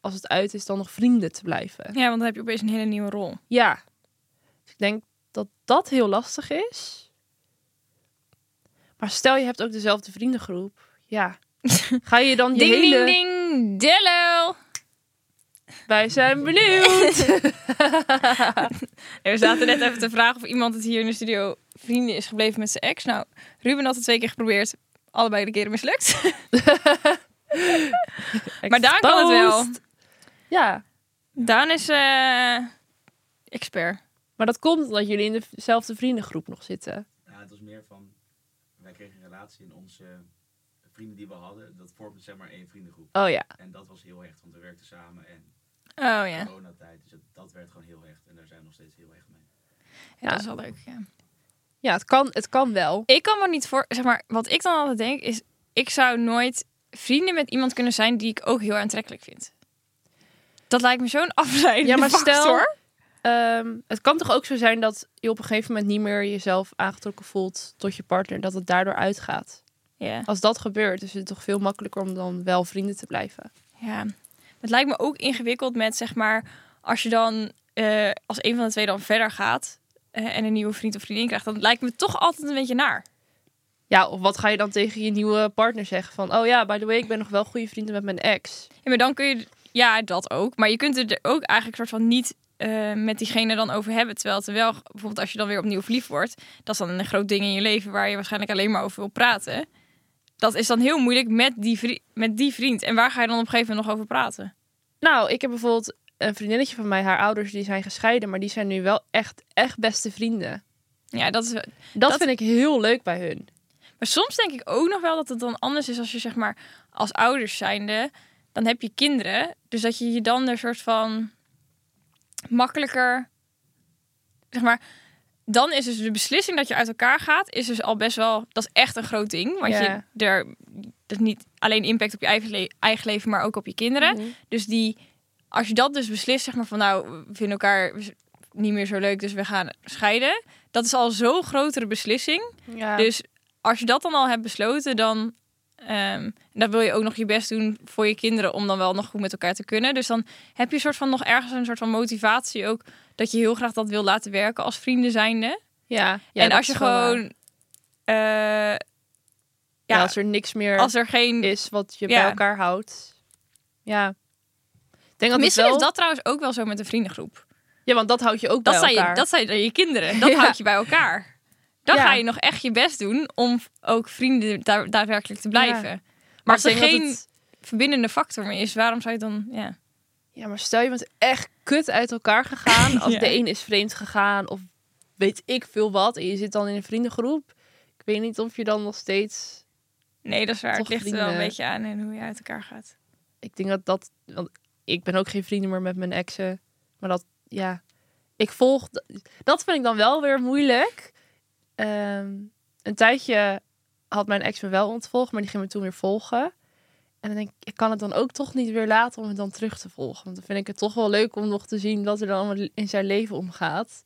S2: als het uit is dan nog vrienden te blijven.
S1: ja, want dan heb je opeens een hele nieuwe rol.
S2: Ja. Dus ik denk dat dat heel lastig is. Maar stel je hebt ook dezelfde vriendengroep. Ja. Ga je dan je
S1: Ding,
S2: hele...
S1: ding, ding. Dello.
S2: Wij zijn benieuwd.
S1: En we zaten net even te vragen of iemand het hier in de studio vrienden is gebleven met zijn ex. Nou, Ruben had het twee keer geprobeerd. Allebei de keren mislukt. Maar daar kan het wel.
S2: Exposed. Ja.
S1: Daan is eh, expert.
S2: Maar dat komt omdat jullie in dezelfde vriendengroep nog zitten.
S4: Ja, het was meer van, wij kregen een relatie en onze vrienden die we hadden, dat vormde zeg maar één vriendengroep.
S2: Oh ja.
S4: En dat was heel hecht, want we werkten samen en
S1: Oh ja.
S4: coronatijd, dus dat, dat werd gewoon heel hecht. En daar zijn we nog steeds heel hecht mee.
S1: Ja, dat is wel leuk. Ja.
S2: Ja, het kan, het kan wel.
S1: Ik kan me niet voor, zeg maar, wat ik dan altijd denk is, ik zou nooit vrienden met iemand kunnen zijn die ik ook heel aantrekkelijk vind. Dat lijkt me zo'n afleiding.
S2: Ja, maar stel, Ehm, het kan toch ook zo zijn dat je op een gegeven moment niet meer jezelf aangetrokken voelt tot je partner, dat het daardoor uitgaat.
S1: Ja.
S2: Als dat gebeurt, is het toch veel makkelijker om dan wel vrienden te blijven.
S1: ja. Het lijkt me ook ingewikkeld met, zeg maar, als je dan eh, als een van de twee dan verder gaat eh, en een nieuwe vriend of vriendin krijgt, dan lijkt me toch altijd een beetje naar.
S2: Ja, of wat ga je dan tegen je nieuwe partner zeggen? Van, oh ja, by the way, ik ben nog wel goede vrienden met mijn ex.
S1: Ja, maar dan kun je, ja, dat ook. Maar je kunt het er ook eigenlijk soort van niet eh, met diegene dan over hebben. Terwijl het er wel, bijvoorbeeld als je dan weer opnieuw verliefd wordt, dat is dan een groot ding in je leven waar je waarschijnlijk alleen maar over wil praten. Dat is dan heel moeilijk met die, vri- met die vriend. En waar ga je dan op een gegeven moment nog over praten?
S2: Nou, ik heb bijvoorbeeld een vriendinnetje van mij, haar ouders, die zijn gescheiden, maar die zijn nu wel echt, echt beste vrienden.
S1: Ja, dat is
S2: Dat,
S1: Dat-
S2: vind ik heel leuk bij hun.
S1: Maar soms denk ik ook nog wel dat het dan anders is als je zeg maar als ouders zijnde, dan heb je kinderen, dus dat je je dan een soort van makkelijker, zeg maar, dan is dus de beslissing dat je uit elkaar gaat, is dus al best wel, dat is echt een groot ding, want
S2: Ja.
S1: je er dat is niet alleen impact op je eigen, le- eigen leven, maar ook op je kinderen. Dus die, als je dat dus beslist, zeg maar van nou, we vinden elkaar niet meer zo leuk, dus we gaan scheiden. Dat is al zo'n grotere beslissing.
S2: Ja.
S1: Dus als je dat dan al hebt besloten, dan, ehm, en dan wil je ook nog je best doen voor je kinderen om dan wel nog goed met elkaar te kunnen. Dus dan heb je soort van nog ergens een soort van motivatie ook dat je heel graag dat wil laten werken als vrienden zijnde.
S2: ja. Ja,
S1: en
S2: dat
S1: als je
S2: is wel waar.
S1: gewoon, eh,
S2: Ja,
S1: ja,
S2: als er niks meer
S1: als er geen
S2: is wat je
S1: Ja.
S2: bij elkaar houdt. Ja. Ik denk dat het
S1: Misschien
S2: wel...
S1: is dat trouwens ook wel zo met een vriendengroep.
S2: Ja, want dat houd je ook
S1: Dat
S2: bij
S1: zijn, je,
S2: elkaar.
S1: dat zijn dan je kinderen. Dat
S2: Ja.
S1: houd je bij elkaar. Dan
S2: Ja.
S1: ga je nog echt je best doen om ook vrienden daar, daadwerkelijk te blijven. Maar als er
S2: ik denk dat
S1: geen
S2: het-
S1: verbindende factor meer is, waarom zou je dan... Ja.
S2: Ja, maar stel je bent echt kut uit elkaar gegaan. Of
S1: Ja.
S2: de een is vreemd gegaan. Of weet ik veel wat. En je zit dan in een vriendengroep. Ik weet niet of je dan nog steeds...
S1: Nee, dat is waar.
S2: Toch
S1: het ligt er wel
S2: vrienden.
S1: een beetje aan en hoe je uit elkaar gaat.
S2: Ik denk dat dat... Want ik ben ook geen vrienden meer met mijn exen. Maar dat, ja... Ik volg... Dat vind ik dan wel weer moeilijk. Ehm, een tijdje had mijn ex me wel ontvolgd. Maar die ging me toen weer volgen. En dan denk ik, ik kan het dan ook toch niet weer laten om het dan terug te volgen. Want dan vind ik het toch wel leuk om nog te zien wat er dan allemaal in zijn leven omgaat.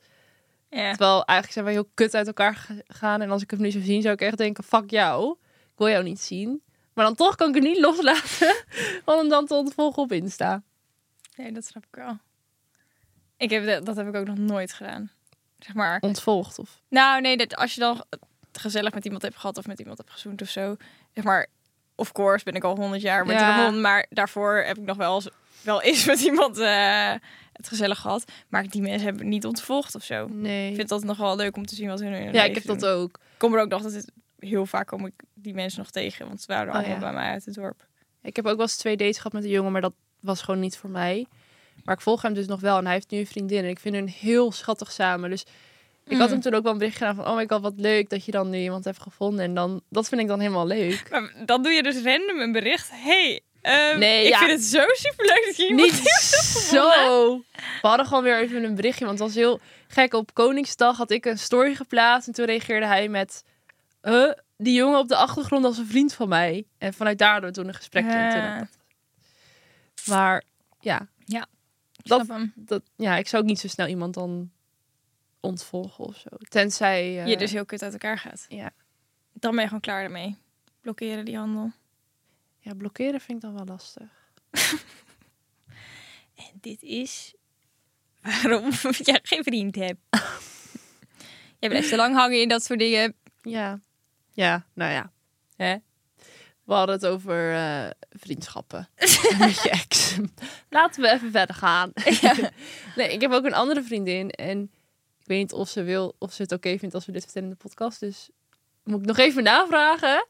S1: Ja.
S2: Terwijl eigenlijk zijn wij heel kut uit elkaar ge- gegaan. En als ik hem nu zou zien, zou ik echt denken: fuck jou. Ik wil jou niet zien. Maar dan toch kan ik het niet loslaten. Om hem dan te ontvolgen op Insta.
S1: Nee, dat snap ik wel. Ik heb, dat- dat heb ik ook nog nooit gedaan. Zeg maar.
S2: Ontvolgd. Of...
S1: Nou, nee, dat, als je dan gezellig met iemand hebt gehad of met iemand hebt gezoend of zo. Zeg maar, of course ben ik al honderd jaar met
S2: Ja.
S1: Ramon. Maar daarvoor heb ik nog wel eens, wel eens met iemand eh, het gezellig gehad. Maar die mensen hebben me niet ontvolgd of zo.
S2: Nee.
S1: Ik vind dat nog wel leuk om te zien wat hun in hun
S2: Ja,
S1: leven
S2: ik heb dat
S1: doen.
S2: ook.
S1: Ik kom er ook nog dat het, heel vaak kom ik die mensen nog tegen. Want ze waren
S2: Oh,
S1: allemaal
S2: ja.
S1: bij mij uit het dorp.
S2: Ik heb ook wel eens twee dates gehad met een jongen, maar dat was gewoon niet voor mij. Maar ik volg hem dus nog wel en hij heeft nu een vriendin en ik vind hun heel schattig samen. Dus ik had
S1: Mm.
S2: hem toen ook wel een bericht gedaan van, oh my god, wat leuk dat je dan nu iemand hebt gevonden. En dan, dat vind ik dan helemaal leuk.
S1: Maar dan doe je dus random een bericht. hey, ehm,
S2: Nee,
S1: ik
S2: ja.
S1: vind het zo superleuk dat je iemand...
S2: Niet zo. We hadden gewoon weer even een berichtje, want het was heel gek. Op Koningsdag had ik een story geplaatst en toen reageerde hij met... "Huh, die jongen op de achtergrond was een vriend van mij. En vanuit daar hadden we toen een gesprek.
S1: Ja,
S2: Maar ja,
S1: ik snap hem.
S2: dat, ja, ik zou ook niet zo snel iemand dan ontvolgen of zo. Tenzij... eh,
S1: je dus heel kut uit elkaar gaat.
S2: Ja.
S1: Dan ben je gewoon klaar ermee. Blokkeren die handel.
S2: Ja, blokkeren vind ik dan wel lastig.
S1: En dit is waarom jij geen vriend hebt. jij blijft te lang hangen in dat soort dingen.
S2: Ja. Ja, nou ja. Hè? We hadden het over eh, vriendschappen met je ex. Laten we even verder gaan. nee, ik heb ook een andere vriendin en ik weet niet of ze wil of ze het oké vindt als we dit vertellen in de podcast. Dus moet ik nog even navragen.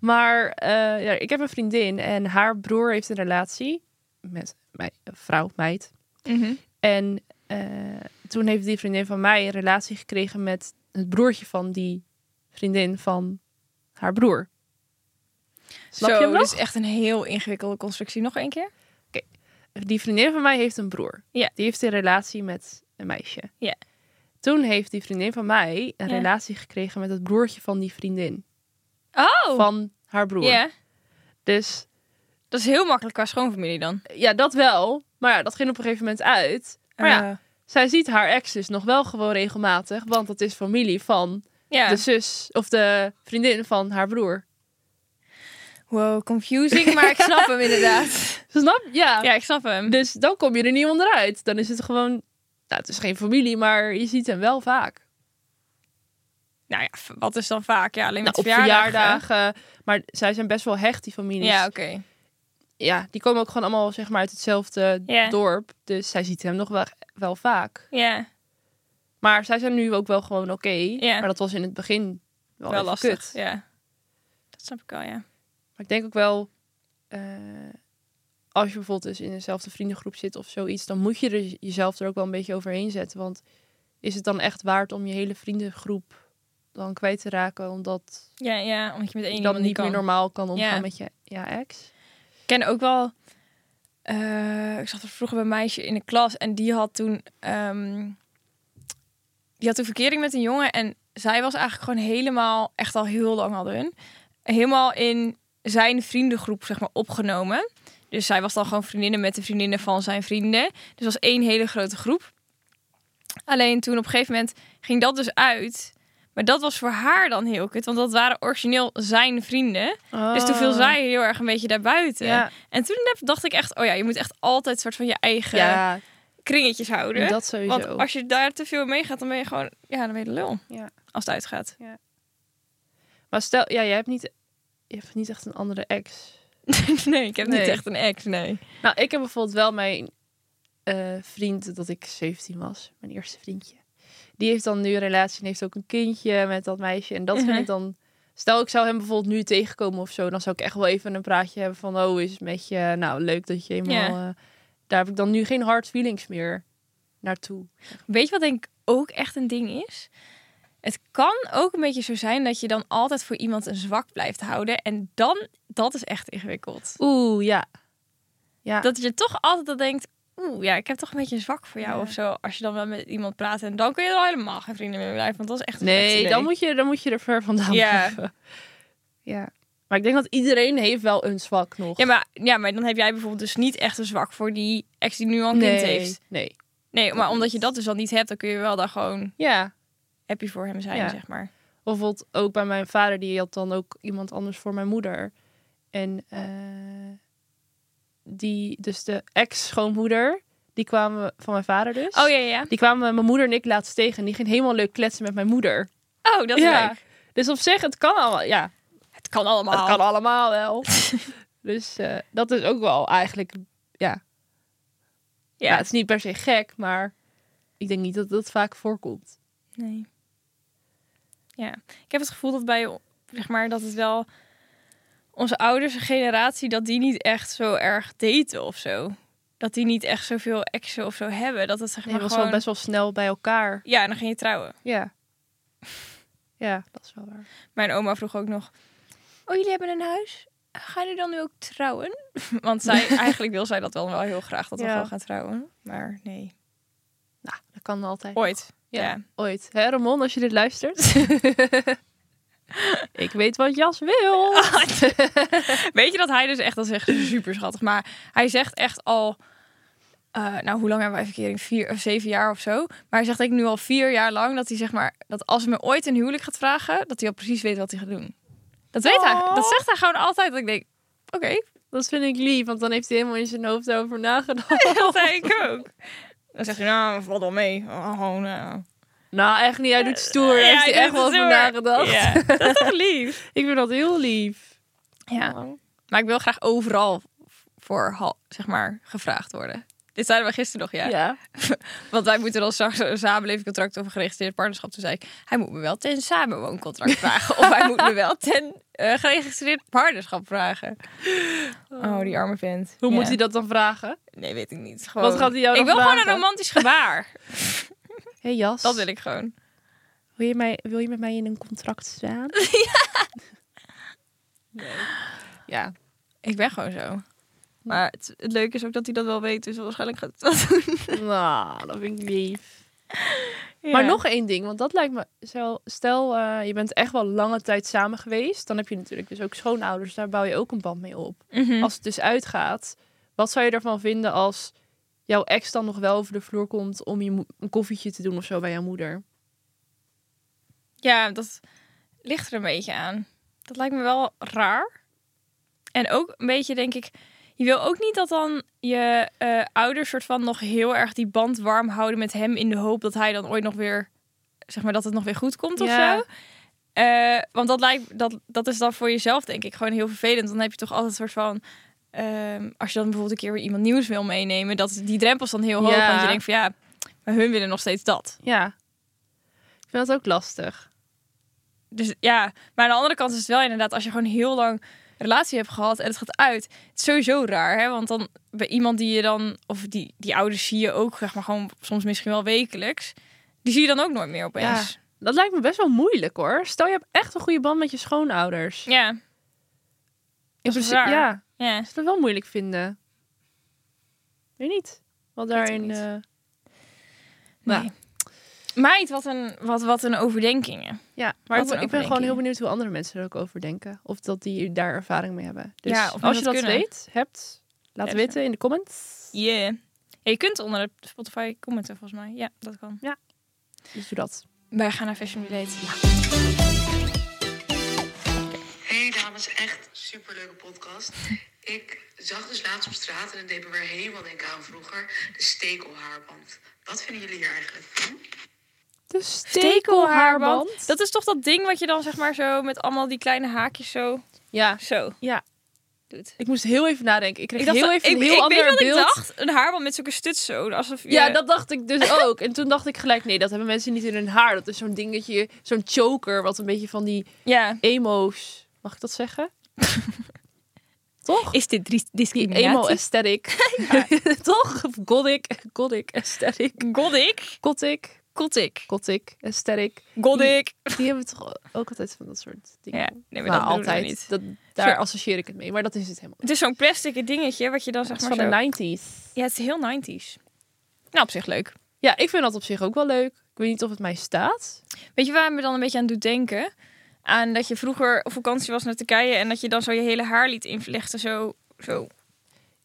S2: maar eh, ja, ik heb een vriendin en haar broer heeft een relatie met mij, vrouw, meid.
S1: Mhm.
S2: En eh, toen heeft die vriendin van mij een relatie gekregen met het broertje van die vriendin van haar broer. Snap
S1: Zo,
S2: je hem nog?
S1: dus echt een heel ingewikkelde constructie. Nog één keer?
S2: Die vriendin van mij heeft een broer.
S1: Ja.
S2: Die heeft een relatie met een meisje.
S1: Ja.
S2: Toen heeft die vriendin van mij een
S1: Ja.
S2: relatie gekregen met het broertje van die vriendin.
S1: Oh,
S2: Van haar broer.
S1: ja.
S2: Dus
S1: Dat is heel makkelijk qua schoonfamilie dan.
S2: ja, dat wel. Maar ja, dat ging op een gegeven moment uit. Maar ja,
S1: Eh,
S2: zij ziet haar ex dus nog wel gewoon regelmatig. Want dat is familie van
S1: ja.
S2: de zus of de vriendin van haar broer.
S1: Wow, confusing, maar ik snap hem inderdaad.
S2: Snap? Ja.
S1: Ja, ik snap hem.
S2: Dus dan kom je er niet onderuit. Dan is het gewoon... Nou, het is geen familie, maar je ziet hem wel vaak.
S1: Nou ja, v- wat is dan vaak? Ja, alleen
S2: Nou,
S1: met
S2: op
S1: verjaardagen.
S2: verjaardagen. Maar zij zijn best wel hecht, die families.
S1: Ja, oké.
S2: ja, die komen ook gewoon allemaal zeg maar uit hetzelfde
S1: Ja.
S2: dorp. Dus zij ziet hem nog wel, wel vaak.
S1: Ja,
S2: Maar zij zijn nu ook wel gewoon oké.
S1: Ja.
S2: Maar dat was in het begin wel,
S1: wel
S2: even
S1: lastig.
S2: kut.
S1: Ja. Dat snap ik wel, ja.
S2: Maar ik denk ook wel, eh, als je bijvoorbeeld dus in dezelfde vriendengroep zit of zoiets, dan moet je er jezelf er ook wel een beetje overheen zetten. Want is het dan echt waard om je hele vriendengroep dan kwijt te raken? Omdat
S1: Ja, ja, omdat je met één
S2: je
S1: iemand
S2: dan niet meer
S1: kan.
S2: normaal kan omgaan
S1: Ja.
S2: met je ja, ex.
S1: Ik ken ook wel. eh, ik zat er vroeger bij een meisje in de klas en die had toen. ehm, die had toen verkering met een jongen en zij was eigenlijk gewoon helemaal, echt al heel lang hadden hun, helemaal in zijn vriendengroep zeg maar opgenomen. Dus zij was dan gewoon vriendinnen met de vriendinnen van zijn vrienden. Dus het was één hele grote groep. Alleen toen op een gegeven moment ging dat dus uit. Maar dat was voor haar dan heel kut, want dat waren origineel zijn vrienden. Dus toen viel zij heel erg een beetje daarbuiten.
S2: Ah. Oh. Ja,
S1: En toen heb- dacht ik echt, oh ja, je moet echt altijd soort van je eigen
S2: ja
S1: kringetjes houden.
S2: dat sowieso.
S1: eh, Want als je daar te veel mee gaat, dan ben je gewoon, ja, dan ben je de lul.
S2: Ja.
S1: Als het uitgaat.
S2: Maar stel, ja, jij hebt niet, je hebt niet echt een andere ex.
S1: nee, ik heb niet
S2: Nee.
S1: echt een ex, nee.
S2: Nou, ik heb bijvoorbeeld wel mijn eh, vriend dat ik 17 was, mijn eerste vriendje. Die heeft dan nu een relatie en heeft ook een kindje met dat meisje. En dat vind
S1: Mhm.
S2: ik dan. Stel, ik zou hem bijvoorbeeld nu tegenkomen of zo, dan zou ik echt wel even een praatje hebben van, oh, is het met je? Nou, leuk dat je eenmaal. eh, daar heb ik dan nu geen hard feelings meer naartoe.
S1: Weet je wat denk ik ook echt een ding is? Het kan ook een beetje zo zijn dat je dan altijd voor iemand een zwak blijft houden. En dan, dat is echt ingewikkeld.
S2: Oeh, ja. Ja.
S1: Dat je toch altijd al denkt, oeh, ja, ik heb toch een beetje een zwak voor jou
S2: Ja.
S1: of zo. Als je dan wel met iemand praat en dan kun je er al helemaal geen vrienden meer mee blijven. Want dat is echt een slecht
S2: Nee,
S1: idee.
S2: dan moet, je, dan moet je er ver vandaan
S1: Ja.
S2: blijven. Ja. Maar ik denk dat iedereen heeft wel een zwak nog.
S1: Ja maar, ja, maar dan heb jij bijvoorbeeld dus niet echt een zwak voor die ex die nu al een
S2: nee.
S1: kind heeft.
S2: Nee.
S1: Nee, maar omdat je dat dus al niet hebt, dan kun je wel daar gewoon
S2: Ja.
S1: happy voor hem zijn,
S2: Ja.
S1: zeg maar.
S2: Of bijvoorbeeld ook bij mijn vader, die had dan ook iemand anders voor mijn moeder. En eh, die, dus de ex-schoonmoeder, die kwamen van mijn vader dus.
S1: Oh ja, ja.
S2: Die kwamen mijn moeder en ik laatst tegen. En die ging helemaal leuk kletsen met mijn moeder.
S1: Oh, dat is
S2: Ja.
S1: leuk.
S2: Dus op zich, het kan allemaal. Ja,
S1: Het kan allemaal.
S2: Het kan allemaal wel. dus eh, dat is ook wel eigenlijk, ja.
S1: Ja.
S2: ja. het is niet per se gek, maar ik denk niet dat dat vaak voorkomt.
S1: Nee. Ja, ik heb het gevoel dat bij, zeg maar, dat het wel onze ouders een generatie, dat die niet echt zo erg daten of zo. Dat die niet echt zoveel exen of zo hebben. Dat het zeg
S2: Nee,
S1: maar
S2: was
S1: gewoon...
S2: wel best wel snel bij elkaar.
S1: Ja, en dan ging je trouwen.
S2: Ja. Ja, dat is wel waar.
S1: Mijn oma vroeg ook nog: Oh, jullie hebben een huis? Gaan jullie dan nu ook trouwen? Want zij, eigenlijk wil zij dat wel, wel heel graag dat we
S2: Ja.
S1: gewoon gaan trouwen. Maar nee.
S2: Nou, dat kan altijd.
S1: Ooit. Ja.
S2: Ja. Ooit. Hè, Ramon, als je dit luistert? ik weet wat Jas wil.
S1: Weet je dat hij dus echt, dat is echt super schattig. Maar hij zegt echt al. eh, nou, hoe lang hebben wij verkering? Vier of zeven jaar of zo. Maar hij zegt ik nu al vier jaar lang dat hij zeg maar dat als hij me ooit een huwelijk gaat vragen, dat hij al precies weet wat hij gaat doen. Dat weet hij.
S2: Oh.
S1: Dat zegt hij gewoon altijd. Dat ik denk, oké,
S2: Dat vind ik lief, want dan heeft hij helemaal in zijn hoofd over nagedacht.
S1: dat zei ik ook. Dan zegt hij, nou, valt wel mee. Oh, nou.
S2: nou, echt niet. Hij doet stoer. Hij heeft
S1: ik
S2: hij echt
S1: doe
S2: wel
S1: het
S2: over
S1: door.
S2: nagedacht.
S1: Ja, dat is toch lief?
S2: Ik vind dat heel lief.
S1: Ja. Maar ik wil graag overal voor, hal- zeg maar, gevraagd worden. Dit zeiden we gisteren nog, ja.
S2: ja.
S1: Want wij moeten dan straks een samenlevingscontract of een geregistreerd partnerschap. Toen zei ik, hij moet me wel ten samenwooncontract vragen. of hij moet me wel ten eh, geregistreerd partnerschap vragen. Oh, die arme vent.
S2: Hoe
S1: Ja.
S2: moet hij dat dan vragen?
S1: Nee, weet ik niet. Gewoon...
S2: Wat gaat hij jou
S1: Ik
S2: dan
S1: wil gewoon een
S2: vragen?
S1: romantisch gebaar.
S2: Hé Jas,
S1: dat wil ik gewoon.
S2: Wil, je mij, wil je met mij in een contract staan? ja. Ja.
S1: Ik ben gewoon zo. Maar het, het leuke is ook dat hij dat wel weet. Dus waarschijnlijk gaat het wel doen.
S2: Nou, dat vind ik lief. Maar
S1: Ja.
S2: nog één ding, want dat lijkt me zo. Stel, eh, je bent echt wel lange tijd samen geweest. Dan heb je natuurlijk dus ook schoonouders. Daar bouw je ook een band mee op.
S1: Mhm.
S2: Als het dus uitgaat, wat zou je ervan vinden als jouw ex dan nog wel over de vloer komt om je mo- een koffietje te doen of zo bij jouw moeder?
S1: Ja, dat ligt er een beetje aan. Dat lijkt me wel raar. En ook een beetje, denk ik, je wil ook niet dat dan je eh, ouders soort van nog heel erg die band warm houden met hem in de hoop dat hij dan ooit nog weer, zeg maar, dat het nog weer goed komt of
S2: Ja.
S1: zo. Eh, want dat, lijkt, dat, dat is dan voor jezelf, denk ik, gewoon heel vervelend. Dan heb je toch altijd een soort van. ehm, als je dan bijvoorbeeld een keer weer iemand nieuws wil meenemen, dat die drempels dan heel hoog.
S2: Ja.
S1: Want je denkt van ja, maar hun willen nog steeds dat.
S2: Ja, ik vind dat ook lastig.
S1: Dus ja, maar aan de andere kant is het wel inderdaad, als je gewoon heel lang een relatie hebt gehad en het gaat uit, het is sowieso raar, hè? Want dan bij iemand die je dan, of die, die ouders zie je ook, zeg maar gewoon soms misschien wel wekelijks, die zie je dan ook nooit meer opeens.
S2: Dat lijkt me best wel moeilijk hoor. Stel, je hebt echt een goede band met je schoonouders.
S1: Ja, ja.
S2: In
S1: is
S2: principe-
S1: raar.
S2: ja. Ik zou het wel moeilijk vinden. Weet niet. Wat
S1: Weet ik
S2: daarin.
S1: niet.
S2: eh,
S1: Nee.
S2: Nou.
S1: Meid, wat een, wat, wat een overdenkingen.
S2: ja, maar ik,
S1: Wat een
S2: ik ben gewoon
S1: overdenking.
S2: heel benieuwd hoe andere mensen er ook over denken. Of dat die daar ervaring mee hebben. Dus
S1: Ja, of
S2: als je
S1: we
S2: dat
S1: dat kunnen.
S2: weet, hebt, laat
S1: Ja,
S2: weten in de comments.
S1: Yeah. Ja, je kunt onder de Spotify commenten volgens mij. Ja, dat kan.
S2: Dus doe dat.
S1: Wij gaan naar Fashion Relate.
S5: Hey dames, echt superleuke podcast. Ik zag dus laatst op straat en het deed me weer helemaal denken aan vroeger de stekelhaarband. Wat vinden jullie hier eigenlijk van?
S2: De
S1: Stekelhaarband.
S2: stekelhaarband.
S1: Dat is toch dat ding wat je dan zeg maar zo met allemaal die kleine haakjes zo,
S2: Ja,
S1: zo
S2: ja.
S1: doet.
S2: Ik moest heel even nadenken. Ik kreeg
S1: Ik dacht,
S2: heel
S1: dat-
S2: even
S1: ik,
S2: een heel
S1: ik
S2: ander
S1: weet wat
S2: beeld.
S1: ik dacht. Een haarband met zulke stuts zo. Alsof je-
S2: Ja, dat dacht ik dus ook. En toen dacht ik gelijk, nee, dat hebben mensen niet in hun haar. Dat is zo'n dingetje, zo'n choker, wat een beetje van die
S1: Ja.
S2: emo's. Mag ik dat zeggen? Toch?
S1: Is dit dis-
S2: Die
S1: discriminatie?
S2: emo aesthetic. Toch? Of Gothic, gothic aesthetic.
S1: Gothic.
S2: Gothic,
S1: Gothic.
S2: gothic aesthetic.
S1: Gothic.
S2: Die hebben toch ook altijd van dat soort dingen.
S1: Ja, nee, maar
S2: Nou,
S1: dat
S2: altijd.
S1: altijd. niet.
S2: Dat, daar
S1: Zo.
S2: associeer ik het mee, maar dat is het helemaal.
S1: Het is zo'n plastic dingetje wat je dan
S2: Dat
S1: zeg maar
S2: is van
S1: zo...
S2: de 90s.
S1: Ja, het is heel 90s. Nou, op zich leuk.
S2: Ja, ik vind dat op zich ook wel leuk. Ik weet niet of het mij staat.
S1: Weet je waar het me dan een beetje aan doet denken? Aan dat je vroeger op vakantie was naar Turkije en dat je dan zo je hele haar liet invlechten. Zo, zo.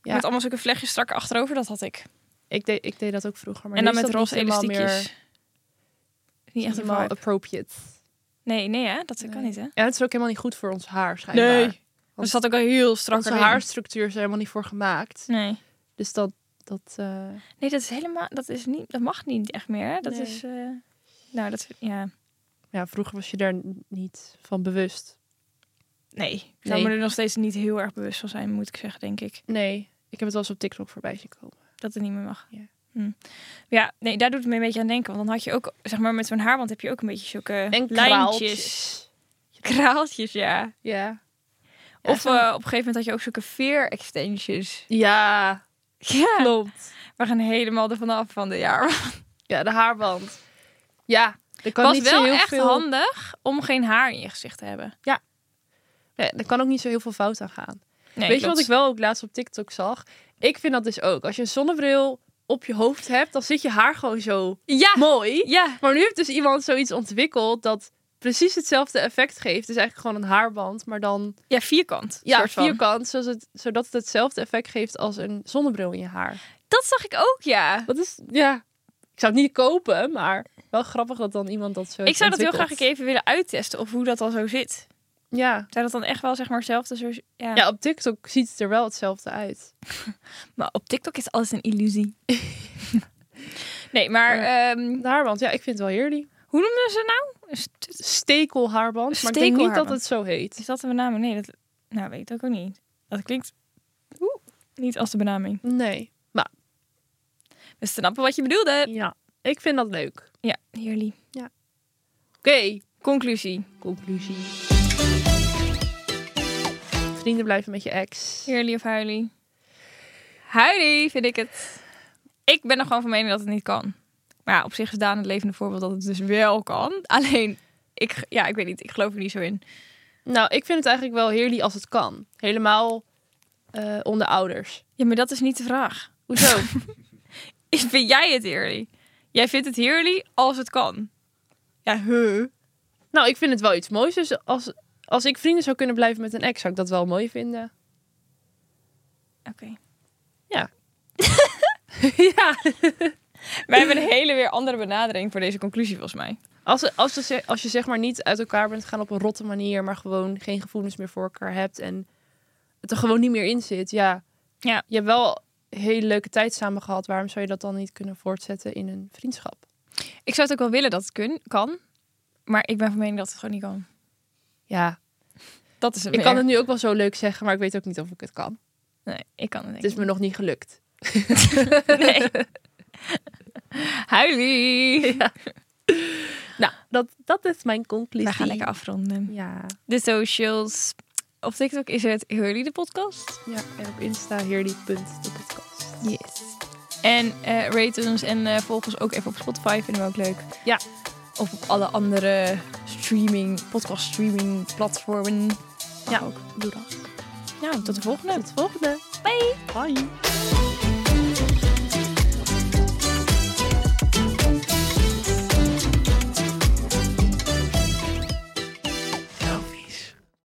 S2: Ja.
S1: Met allemaal zulke vlechtjes strak achterover, dat had ik.
S2: Ik deed, ik deed dat ook vroeger. Maar
S1: en dan
S2: nu is
S1: met
S2: dat
S1: roze
S2: niet helemaal
S1: elastiekjes.
S2: meer-
S1: Niet echt
S2: helemaal
S1: een vibe.
S2: appropriate.
S1: Nee, nee hè? Dat kan
S2: Nee.
S1: niet hè?
S2: En het is ook helemaal niet goed voor ons haar, schijnbaar.
S1: Er zat ook al heel strak
S2: Onze
S1: erin.
S2: haarstructuur is er helemaal niet voor gemaakt.
S1: Nee.
S2: Dus dat... dat eh,
S1: Nee, dat is helemaal. Dat is niet. Dat mag niet echt meer. Hè? Dat
S2: Nee.
S1: is. eh, nou, dat. Ja.
S2: ja, vroeger was je daar n- niet van bewust.
S1: Nee. Ik zou me er nog steeds niet heel erg bewust van zijn, moet ik zeggen, denk ik.
S2: Nee, ik heb het wel eens op TikTok voorbij zien komen.
S1: Dat het niet meer mag.
S2: Ja.
S1: Hm. Ja, nee, daar doet het me een beetje aan denken. Want dan had je ook, zeg maar, met zo'n haarband heb je ook een beetje zulke lijntjes. Kraaltjes, ja.
S2: Ja.
S1: of
S2: zo'n-
S1: eh, op een gegeven moment had je ook zulke veer extensions.
S2: Ja,
S1: Ja.
S2: klopt.
S1: We gaan helemaal ervan af van de jaar.
S2: Ja, de haarband. Ja, er kan
S1: was
S2: niet zo
S1: wel
S2: heel
S1: echt
S2: veel...
S1: handig om geen haar in je gezicht te hebben.
S2: Nee, er kan ook niet zo heel veel fout aan gaan.
S1: Nee,
S2: Weet je
S1: klopt.
S2: wat ik wel ook laatst op TikTok zag? Ik vind dat dus ook. Als je een zonnebril op je hoofd hebt, dan zit je haar gewoon zo
S1: Ja,
S2: mooi.
S1: Ah. ja.
S2: Maar nu heeft dus iemand zoiets ontwikkeld dat precies hetzelfde effect geeft. Dus eigenlijk gewoon een haarband, maar dan
S1: ja, vierkant.
S2: ja,
S1: soort van.
S2: vierkant, zodat het, zodat het hetzelfde effect geeft als een zonnebril in je haar.
S1: Dat zag ik ook, ja.
S2: Dat is, ja. Ik zou het niet kopen, maar wel grappig dat dan iemand dat zo
S1: Ik
S2: heeft
S1: zou dat heel graag
S2: ontwikkeld.
S1: een keer even willen uittesten of hoe dat dan zo zit.
S2: Ja.
S1: Zou dat dan echt wel zeg maar hetzelfde zo? Ja.
S2: ja, op TikTok ziet het er wel hetzelfde uit.
S1: Maar op TikTok is alles een illusie. nee, maar ehm,
S2: Een haarband, ja, ik vind het wel heerlijk.
S1: hoe noemen ze nou? Een stut-
S2: Stekelhaarband, maar ik denk niet dat
S1: Stekelhaarband.
S2: het zo heet.
S1: Is dat een benaming? Nee, dat nou weet ik ook niet. Dat klinkt oeh, niet als de benaming.
S2: Nee. Maar
S1: We snappen wat je bedoelde.
S2: ja, ik vind dat leuk.
S1: Ja, heerlijk.
S2: Oké,
S1: Conclusie.
S2: conclusie. Vrienden blijven met je ex.
S1: Heerly of huilie? Huilie vind ik het. Ik ben er gewoon van mening dat het niet kan. Maar ja, op zich is Daan het levende voorbeeld dat het dus wel kan. Alleen, ik, ja, ik weet niet. Ik geloof er niet zo in.
S2: Nou, ik vind het eigenlijk wel heerlijk als het kan. Helemaal eh, onder ouders.
S1: Ja, maar dat is niet de vraag.
S2: Hoezo?
S1: Is- Vind jij het eerlijk? Jij vindt het heerlijk als het kan. Ja, huh.
S2: Nou, ik vind het wel iets moois. Dus als, als ik vrienden zou kunnen blijven met een ex, zou ik dat wel mooi vinden.
S1: Oké.
S2: ja.
S1: Wij hebben een hele weer andere benadering voor deze conclusie volgens mij.
S2: Als, als, je ze- als je zeg maar niet uit elkaar bent gaan op een rotte manier, maar gewoon geen gevoelens meer voor elkaar hebt en het er gewoon niet meer in zit, ja.
S1: Ja.
S2: Je hebt wel een hele leuke tijd samen gehad. Waarom zou je dat dan niet kunnen voortzetten in een vriendschap?
S1: Ik zou het ook wel willen dat het kun, kan. Maar ik ben van mening dat het gewoon niet kan.
S2: Ja,
S1: Dat is het
S2: ik
S1: meer.
S2: kan het nu ook wel zo leuk zeggen, maar ik weet ook niet of ik het kan.
S1: Nee, ik kan het
S2: Het
S1: niet.
S2: is me nog niet gelukt.
S1: Nee. Huilie.
S2: Nou, dat, dat is mijn conclusie.
S1: We gaan lekker afronden.
S2: Ja.
S1: De socials. Op TikTok is het Hurley de podcast.
S2: ja, en op Insta heerly.depodcast.
S1: Yes. En eh, rate ons en eh, volg ons ook even op Spotify. Vinden we ook leuk.
S2: Ja.
S1: Of op alle andere podcast-streaming podcast streaming platformen. Mag
S2: Ja.
S1: ook. Doe dat. Nou, tot de volgende.
S2: Tot de volgende.
S1: Bye.
S2: Bye.